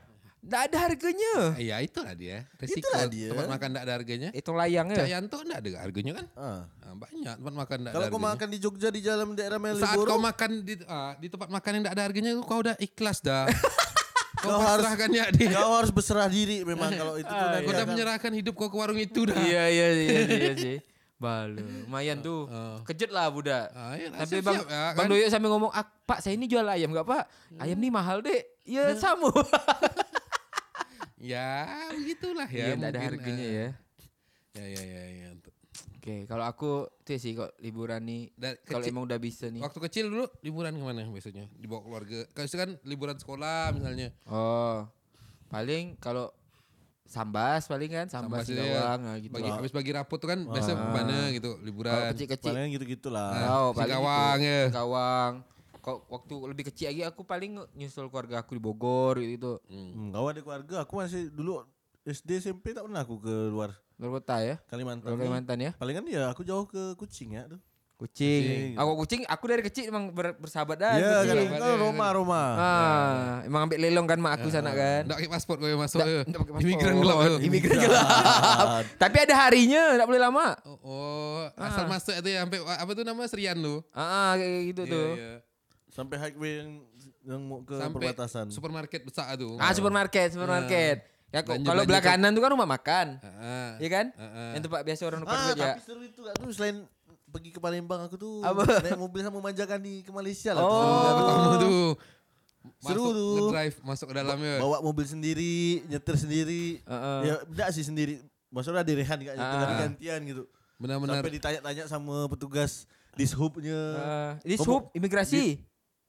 C: Nggak ada harganya.
E: Ya itulah dia. Resiko
D: Itulah dia.
E: tempat makan tidak ada harganya.
C: Hitung layangnya.
E: Cak Yanto tidak ada harganya kan?
D: Ah.
E: Ah, banyak tempat makan tidak ada
D: Kalau kau
E: harganya.
D: makan di Jogja di jalan daerah
E: Saat kau
D: Malioboro,
E: makan di ah, di tempat makan yang tidak ada harganya, kau udah ikhlas dah. kau,
D: Kau harus-
E: pasrahkan ya dia.
C: Iya,
D: kau harus berserah diri memang kalau itu
C: Ah,
D: tuh nanti
E: Kau dah
D: akan-
E: menyerahkan hidup kau ke warung itu dah.
C: Iya iya iya iya sih. Balu. Lumayan tuh. Kejut lah budak.
E: Ah, iya lah,
C: Tapi
E: siap-siap
C: Bang
E: ya,
C: Bang
E: kan? Hmm.
C: Doyo sambil ngomong, "Ah, "Pak, saya ini jual ayam enggak, Pak? Ayam nih mahal, Dek." Ya sama.
E: Ya, begitulah ya.
C: Iya, enggak ada
E: mungkin,
C: harganya
E: ah.
C: ya.
E: Ya, ya, ya, ya.
C: Oke, kalau aku tuh ya sih kok liburan nih
E: Dan
C: kalau
E: kecil-
C: emang udah bisa nih.
E: Waktu kecil dulu liburan kemana biasanya? Dibawa keluarga. Kalau itu kan liburan sekolah misalnya.
C: Oh. Paling kalau sambas paling kan sambas,
E: Sambas, iya.
C: Singawang nah, gitu.
E: Bagi habis bagi rapot tuh kan biasa kemana gitu
C: Kalau
E: liburan.
C: kecil-kecil
D: Palingan gitu-gitu lah.
C: Tahu
E: si gawang ya.
C: Gawang. Kok waktu lebih kecil lagi aku paling nyusul keluarga aku di Bogor gitu.
D: Hmm, kau ada keluarga, aku masih dulu SD SMP tak pernah aku ke luar
C: Luar kota ya.
D: Kalimantan.
C: Luar Kalimantan ya.
D: Palingan ya aku jauh ke Kucing ya tuh.
C: Kucing. Aku kucing, aku dari kecil emang ber- bersahabat dah.
D: Ya,
E: Iya,
C: kucing.
D: kan kan Roma Roma.
C: Ah, emang ambil lelong kan mak aku sana kan.
E: Nggak pakai paspor kau yang masuk.
C: Nggak-
E: ke.
C: nggak pakai paspor.
E: Ya. Imigran gelap. ke.
C: Imigran gelap. Tapi ada harinya, enggak boleh lama.
E: Oh, oh,
C: Ah.
E: asal masuk itu ya sampai apa tuh nama Serian lu?
C: Ah, ah, kayak gitu
E: Iya,
C: tuh.
E: iya.
D: Sampai highway yang yang mau ke
E: Sampai
D: perbatasan.
E: Supermarket besar tuh.
C: Ah, supermarket, supermarket. Ya kok
E: Ah. Belanja-
C: kalau
E: belanja
C: belah
E: ke-
C: kanan tuh kan rumah makan.
E: Ah,
C: Iya kan?
E: ah.
C: Yang tempat biasa orang numpang
D: Ah,
C: kerja.
D: tapi seru itu gak tuh selain pergi ke Palembang aku tuh
C: Apa?
D: naik mobil sama manjakan di ke Malaysia lah.
C: Oh.
E: Yang pertama tuh.
D: Seru
E: masuk,
D: tuh.
E: Drive masuk ke dalamnya.
D: Tuh. Bawa mobil sendiri, nyetir sendiri.
C: Heeh.
D: Ya enggak sih sendiri. Maksudnya ada Rehan enggak nyetir
C: Ah.
D: tapi gantian gitu.
E: Benar-benar.
D: Sampai ditanya-tanya sama petugas dishubnya.
C: Ah,
E: Oh,
C: Ini
D: Kamu-
C: sub imigrasi.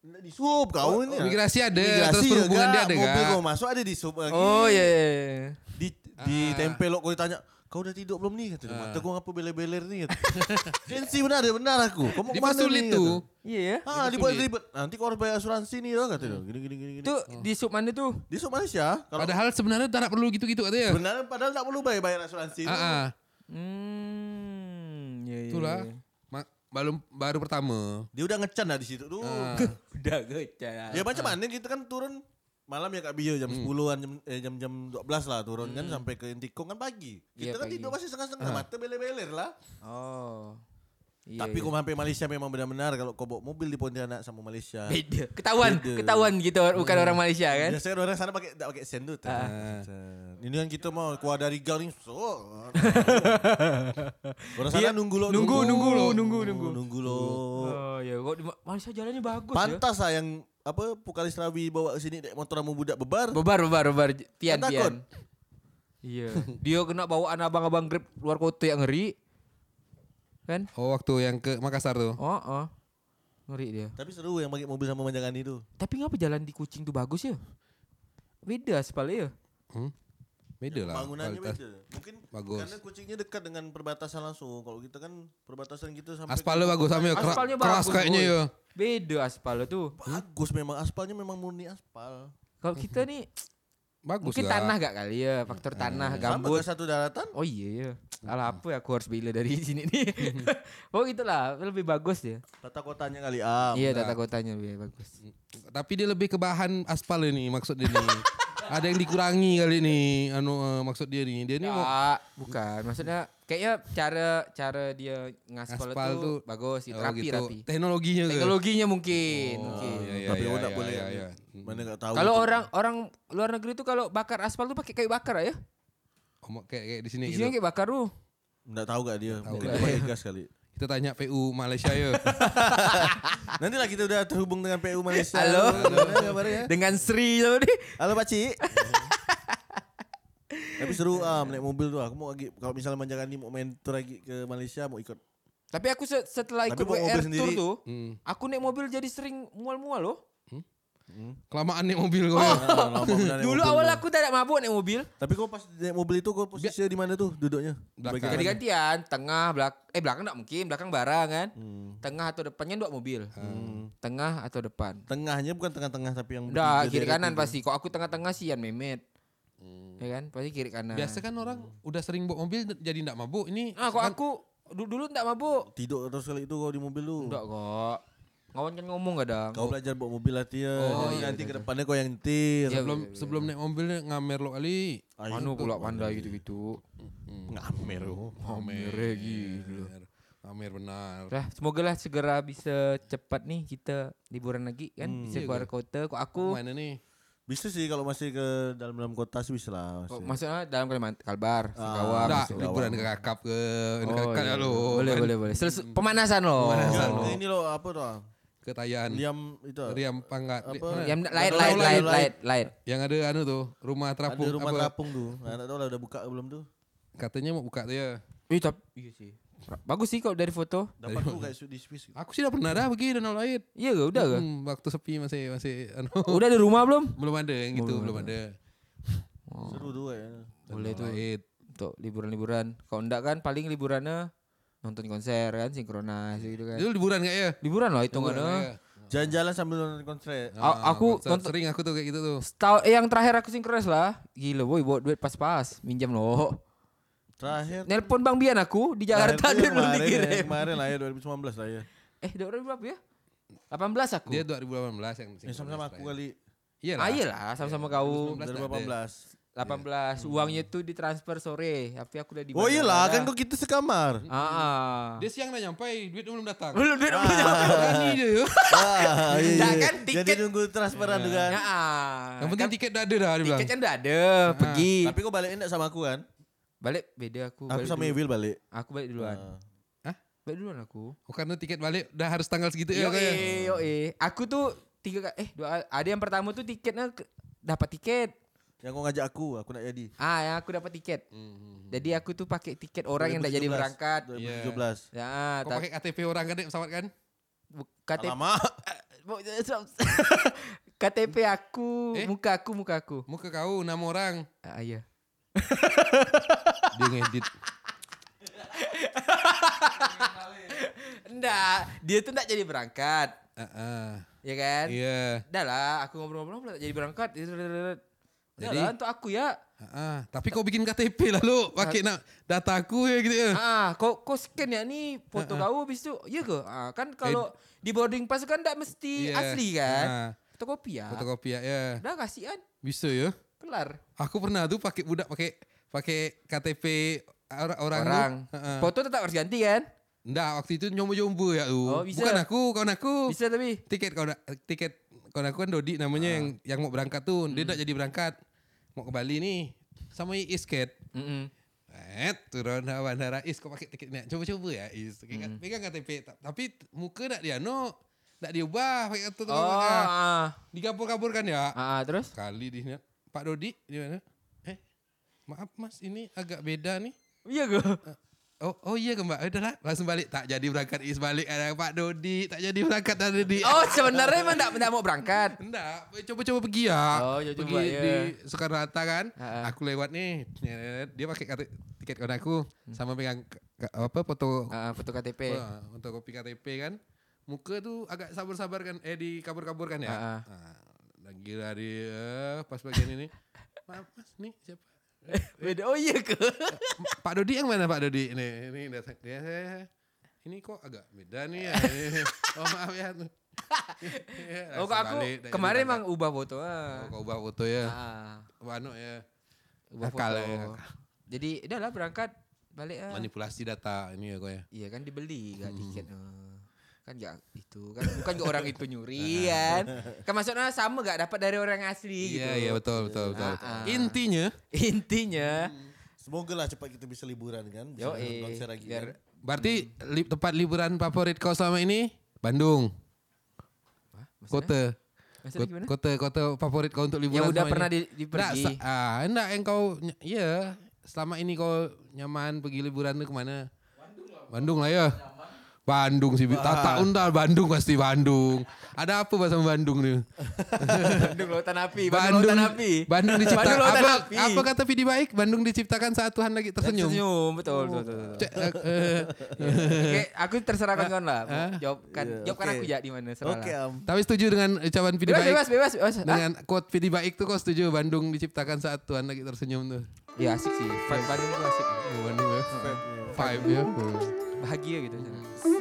D: Nggak Dishub kau ini.
E: Migrasi ada,
D: ya? Migrasi
E: terus
D: ya,
E: perhubungan dia
D: Kak.
E: ada kan? ya,
D: Mobil
E: enggak?
D: kau masuk ada dishub lagi.
C: Oh iya. iya, iya.
D: Di
E: Ah.
D: di tempel kau ditanya Kau udah tidur belum nih? Kata dia, mata kau ngapa beler-beler nih? Kata. Sensi benar dia benar aku. Kau mau kemana
E: Dipersulit
D: nih?
E: tuh.
D: Kata.
C: Iya ya.
D: Ah,
E: Dipersulit.
D: dibuat ribet. Nanti kau harus bayar asuransi nih loh kata dia. Gini gini gini gini.
E: oh.
C: Itu di sub mana tuh?
D: Di Sub Malaysia, kalau
E: Hmm. Padahal sebenarnya tak perlu gitu-gitu katanya.
D: benar padahal tak perlu bayar bayar asuransi.
E: Ah, ah.
D: Iya.
C: Hmm, iya iya.
E: Itulah.
C: iya.
E: Ma- Baru baru pertama.
D: Dia udah ngecan lah di situ tuh.
E: Ah.
C: Udah gocah.
D: Ya macam mana kita kan turun malam ya Kak Bio
E: Hmm.
D: jam 10-an jam eh, jam jam 12 lah turun kan sampai ke Intikong kan pagi. Kita
E: Ya,
C: Iya,
D: kan
C: pagi.
D: tidur masih setengah-setengah
E: Ah.
D: mata beler-beler lah.
C: Oh. Iya,
D: Tapi
C: iya.
D: kau sampai Malaysia memang benar-benar kalau kau bawa mobil di Pontianak sama Malaysia.
C: beda. Ketahuan,
D: Beda. Iya.
C: ketahuan gitu bukan
E: Oh.
C: orang Malaysia Iya, kan? Ah.
D: Biasanya orang sana pakai tak pakai sen tuh. Ter- ter- Ini yang kita mau keluar dari gang ni. So. orang sana nunggu lo.
C: nunggu, nunggu lo, nunggu,
D: Nunggu
C: nunggu.
D: Nunggu lo.
C: Oh ya, kok di Ma- Malaysia jalannya bagus ya.
D: Pantas lah yang apa Pukalis Rawi bawa ke sini dek motor sama budak bebar.
C: Bebar, bebar, bebar. Pian,
D: Kau
C: pian.
D: takut?
C: Iya. Dia kena bawaan abang-abang grab luar kota yang ngeri. Kan?
E: Oh, waktu yang ke Makassar tuh.
C: Oh, oh. Ngeri dia.
D: Tapi seru yang pakai mobil sama manjakan itu.
C: Tapi ngapa jalan di Kucing tuh bagus ya? Beda sepale ya.
E: Hmm? Beda lah.
D: Bangunannya
E: kualitas.
D: beda. Mungkin
E: Bagus.
D: karena kucingnya dekat dengan perbatasan langsung. Kalau kita kan perbatasan kita sampai
E: Aspalnya bagus sama ya. kera-
C: Aspalnya
E: Keras
C: bagus,
E: kayaknya
C: Boy.
E: ya.
C: Beda aspal tuh.
D: bagus memang aspalnya memang murni aspal.
C: Kalau kita nih
E: Bagus
C: mungkin
E: lah. Eh,
C: tanah gak kali ya, faktor tanah,
D: Sama
C: gambut.
D: ke satu daratan.
C: Oh iya ya. Alah apa ya aku harus bila dari sini nih. oh itulah lebih bagus dia.
D: Tata kotanya kali ah.
C: Iya tata kotanya lebih bagus.
E: Tapi dia lebih ke bahan aspal ini maksud dia nih. Ada yang dikurangi kali ini anu eh, maksud dia nih.
C: Ya,
E: Dia nih mau
C: Enggak, bukan. Maksudnya kayaknya cara cara dia ngaspal
E: Ngaspal
C: itu
E: tuh-
C: bagus,
E: oh,
C: gitu. rapi
E: gitu.
C: rapi.
E: Teknologinya ke.
C: Teknologinya mungkin, mungkin.
E: Oh, iya, iya,
D: Tapi
E: iya,
D: orang tak
E: iya,
D: boleh.
E: iya, iya.
D: Mana enggak tahu.
C: Kalau
D: itu.
C: orang orang luar negeri tuh kalau bakar aspal tuh pakai kayu bakar ya.
E: Oh, mak- kayak kayak di sini
C: Di
E: gitu.
C: sini kayak bakar tuh.
D: enggak tahu gak dia. Mungkin dia pakai gas kali.
E: Kita tanya PU Malaysia ya.
D: Nantilah kita udah terhubung dengan PU Malaysia.
C: Halo.
D: Gimana
E: Eh.
D: kabarnya?
C: Dengan Sri tadi.
D: Halo Pak Ci. Tapi seru ah naik mobil tuh. Aku mau lagi kalau misalnya manjakan ini mau main tour lagi ke Malaysia mau ikut.
C: Tapi aku se- setelah
D: Tapi
C: ikut
D: bawa mobil
C: WR tour
D: sendiri.
C: tuh,
E: Hmm.
C: aku naik mobil jadi sering mual-mual loh.
E: Kelamaan naik mobil kau.
D: Ah, lama benar naik
C: Dulu
D: mobil
C: awal
D: tuh.
C: aku tak ada mabuk naik mobil.
D: Tapi kau pas naik mobil itu kau posisinya di mana tuh duduknya? Bagian
E: Belakang.
C: Ganti
D: mana?
C: gantian, tengah, belak eh belakang tak mungkin, belakang barang kan.
E: Hmm.
C: Tengah atau depannya dua mobil. Tengah atau depan.
D: Tengahnya bukan tengah-tengah tapi yang
C: Udah
D: bertiga
C: kiri
D: daerah
C: kanan
D: itu.
C: pasti. Kok aku tengah-tengah sih Yan Memet. Ya kan? Pasti kiri kanan.
E: Biasa kan orang udah sering bawa mobil jadi ndak mabuk. Ini
C: Ah, kok aku du- dulu tak mabuk.
D: Tidur terus kali itu kau di mobil lu.
C: Enggak kok. Ngawan kan ngomong kadang.
D: Kau belajar bawa mobil latihan.
E: Oh,
D: Jadi nanti ke depannya kau yang nyetir.
C: Iya.
E: sebelum sebelum naik mobil dia ngamer lo kali.
D: Ah,
C: Anu pula pandai gitu-gitu.
D: Ngamer oh. lu.
E: Ngamer gitu. Ngamer benar.
C: Dah, semoga lah segera bisa cepat nih kita liburan lagi kan. bisa keluar kota. Kok aku
E: Mana nih?
D: Bisa sih kalau masih ke dalam-dalam kota sih bisa lah.
C: kok
D: masih.
C: maksudnya dalam Kalimantan Kalbar, Singkawang.
E: Ndak
C: masuk Jawa.
E: liburan ke kakap ke ini
C: Ah, Oh,
E: kakap
C: iya.
E: lo.
C: Boleh, boleh, boleh. Selesai pemanasan loh.
D: Enggak,
E: Pemanasan.
C: Oh.
D: ke ini loh apa tuh? ah?
E: Ke Tayan.
D: Liam itu. ah.
E: Riam Pangga.
D: Apa?
E: Di- mana?
C: Yang light, light,
D: Ada orang
C: light,
D: lain.
C: light, light.
E: Yang ada anu tuh, rumah
D: Ada
E: terapung
D: rumah
E: apa?
D: terapung tuh. Nah, tak tahu lah udah buka belum tuh.
E: Katanya mau buka dia.
C: Ih, tapi iya sih. Bagus sih kalau dari foto.
D: Dapat tuh kayak su- di Swiss. gitu.
E: Aku sih udah pernah dah pergi Danau Light.
C: Iya ke? Udah ke?
E: Hmm, waktu sepi masih masih anu.
C: Udah ada rumah belum?
E: belum ada yang gitu, belum ada.
C: Oh.
D: Seru tuh kayaknya.
E: Boleh tuh.
C: Untuk liburan-liburan. Kalau enggak kan paling liburannya nonton konser kan sinkronas gitu kan.
E: Itu liburan kayak ya?
C: Liburan lah
E: Liburan,
C: hitungannya.
E: ya.
D: Jalan-jalan sambil nonton konser.
C: A-
E: Ah,
C: aku
E: konser.
C: nonton
E: sering aku tuh kayak gitu tuh.
C: setahun eh, yang terakhir aku sinkronis lah. Gila boy, bawa duit pas-pas, minjam loh.
D: Terakhir
C: Nelpon Bang Bian aku di Jakarta dia
D: terakhir tu
C: belum
D: kemarin,
C: dikirim.
D: Kemarin lah ya 2019 lah ya.
C: Eh, dia orang berapa ya? 18 aku.
E: Dia 2018 yang
D: Eh, sama-sama
C: ya.
D: aku kali
E: Iya Hmm.
C: Ah, iyalah sama-sama kau.
E: 19.
D: 2018.
C: 18. Uangnya tuh ditransfer sore, tapi aku udah di
D: Oh iyalah kan
C: kok.
D: kok kita sekamar.
C: Ah.
E: iya Dia siang dah nyampai, duit belum datang.
C: Belum duit belum nyampe.
E: Berani dia.
D: Ah, iya,
C: Dah
D: iya.
C: kan,
D: Jadi
C: tiket-
D: nunggu transferan kan. juga.
C: Ya.
E: Yang
C: kan
E: penting tiket dah ada dah dia bilang.
C: tiket kan udah ada, pergi.
D: Tapi kau balik enggak sama aku kan?
C: Balik beda aku.
D: Aku
C: balik
D: sama
C: dulu.
D: Evil balik.
C: Aku balik duluan.
D: Ah.
C: Balik duluan aku.
E: Oh, karena tiket balik dah harus tanggal segitu
C: Yo
E: ya kau ya.
C: yo Aku tuh tiga ka- eh dua ada yang pertama tuh tiketnya ke- dapat tiket.
D: Yang kau ngajak aku, aku nak jadi.
C: Ah, ya aku dapat tiket. Jadi aku tuh pakai tiket orang yang tidak jadi
D: 2017.
C: berangkat.
D: 2017.
C: Ya,
E: Kau
C: tapi
E: pakai KTP orang kan naik pesawat kan?
C: KTP
D: Alamak.
C: KTP aku,
E: Eh?
C: muka aku, muka aku.
E: Muka kau enam orang.
C: Ah, iya.
E: Dia ngedit.
C: Enggak, dia tuh enggak jadi berangkat,
E: Heeh.
C: ya kan?
E: Ah, Iya.
C: Udah lah, aku ngobrol-ngobrol enggak jadi berangkat. Udah
E: Jadi?
C: lah, untuk aku ya.
E: Heeh. Tapi kau bikin KTP lah lu. Pakai
C: Ha.
E: nak data aku ya gitu ya.
C: Ah, kau kau scan ya nih foto kau habis itu. Iya ke? Ah, kan kalau di boarding pass kan enggak mesti
E: Iya.
C: asli kan?
E: Ah.
C: Fotokopi ya.
E: Fotokopi ya. ya.
C: Udah kasih kan,
E: Bisa ya.
C: kelar.
E: Aku pernah tuh pakai budak pakai pakai KTP orang orang. tu.
C: Orang.
E: Heeh.
C: Foto tetap harus ganti kan?
E: Ndak waktu itu nyombo-nyombo ya
C: Oh,
E: lu.
C: bisa.
E: Bukan aku, kawan aku.
C: Bisa Ha. tapi.
E: Tiket kau tiket kawan aku kan Dodi namanya yang yang mau berangkat tuh.
C: Hmm.
E: Dia ndak jadi berangkat. Mau ke Bali nih. Sama isket.
C: Mm-mm.
E: Eh, turun ke bandara Is kau pakai tiket nak. Coba-coba ya Is. Pegang,
C: Hmm.
E: pegang KTP. Ta- Tapi muka nak dia no. Nak diubah pakai kartu
C: Oh, ah.
E: Digabur-gaburkan ya.
C: Ah, ah, terus?
E: Kali di Pak Dodi di mana? Eh. Maaf Mas, ini agak beda nih.
C: Iya ke?
E: Oh, oh iya ke Mbak? Udah lah, langsung balik. Tak jadi berangkat Is balik ada Pak Dodi, tak jadi berangkat ada Dodi.
C: Oh, sebenarnya emang enggak enggak mau berangkat.
E: Enggak, coba-coba pergi ya.
C: Oh, coba-coba,
E: pergi
C: ya. Ha,
E: di Soekarno Hatta kan.
C: Ha-ha.
E: Aku lewat nih. nyeret. Dia pakai kate- tiket kawan aku
C: Hmm.
E: sama pegang k- k- apa foto
C: Ah, foto KTP.
E: apa, foto kopi KTP kan. Muka tuh agak sabar-sabar kan eh dikabur-kaburkan ya.
C: Ha-ha.
E: Nah, lagi dari eh, pas bagian ini. Maaf Mas, nih siapa?
C: Beda. Oh iya ke?
E: Pak Dodi yang mana Pak Dodi? Ini ini datang dia. Ini kok agak beda nih ya. oh maaf ya. Nah,
C: Oh, kok aku kemarin emang ubah foto.
E: Oh,
C: Ah.
E: kau ubah foto ya.
C: Ah,
E: Wano ya.
C: ubah
E: Nakal
C: foto.
E: ya.
C: Jadi udah lah berangkat eh, balik ah.
E: Manipulasi data ini ya kau ya.
C: Iya kan dibeli gak tiket. Ah. Kan gak itu kan bukan ke orang itu nyuri kan. Kan maksudnya sama gak dapat dari orang asli
E: Iya
C: gitu.
E: iya betul betul betul.
C: Ah, ah.
E: Intinya
C: Intinya,
D: Semoga lah cepat kita bisa liburan kan.
C: yo
D: Bisa
C: eh
D: konser lagi.
C: biar
D: kan.
E: berarti li, tempat liburan favorit kau selama ini Bandung. Kota.
C: Maksudnya
E: Kot-
C: gimana?
E: Kota kota favorit kau untuk
C: Yang
E: liburan.
C: udah
E: selama
C: pernah
E: ini.
C: di- dipergi.
E: Nggak, sa- ah, enggak yang kau ny- ya selama ini kau nyaman pergi liburan tuh kemana? Bandung lah. ya. Bandung sih, tata undal Bandung pasti Bandung. Ada apa bahasa Bandung nih?
C: Bandung lautan api, Bandung, lautan api.
E: Bandung diciptakan
C: Bandung lautan
E: apa,
C: api.
E: apa kata Vidi Baik? Bandung diciptakan saat Tuhan lagi tersenyum.
C: Senyum, betul, betul, betul. betul.
E: Cek, eh, eh.
C: Oke, aku terserah kawan-kawan lah.
E: ah.
C: Jawab kan,
D: Iya,
C: jawab kan
D: oke.
C: aku ya di mana serah
D: Oke
C: lah.
D: am.
E: Tapi setuju dengan ucapan Vidi
C: Bebas,
E: Baik.
C: bebas, bebas, bebas. Ah,
E: Dengan quote Vidi Baik tuh kau setuju Bandung diciptakan saat Tuhan lagi tersenyum tuh.
C: ya asik sih. Vibe Bandung itu asik.
E: Oh, Bandung ya. Vibe ya.
C: Bahagia gitu.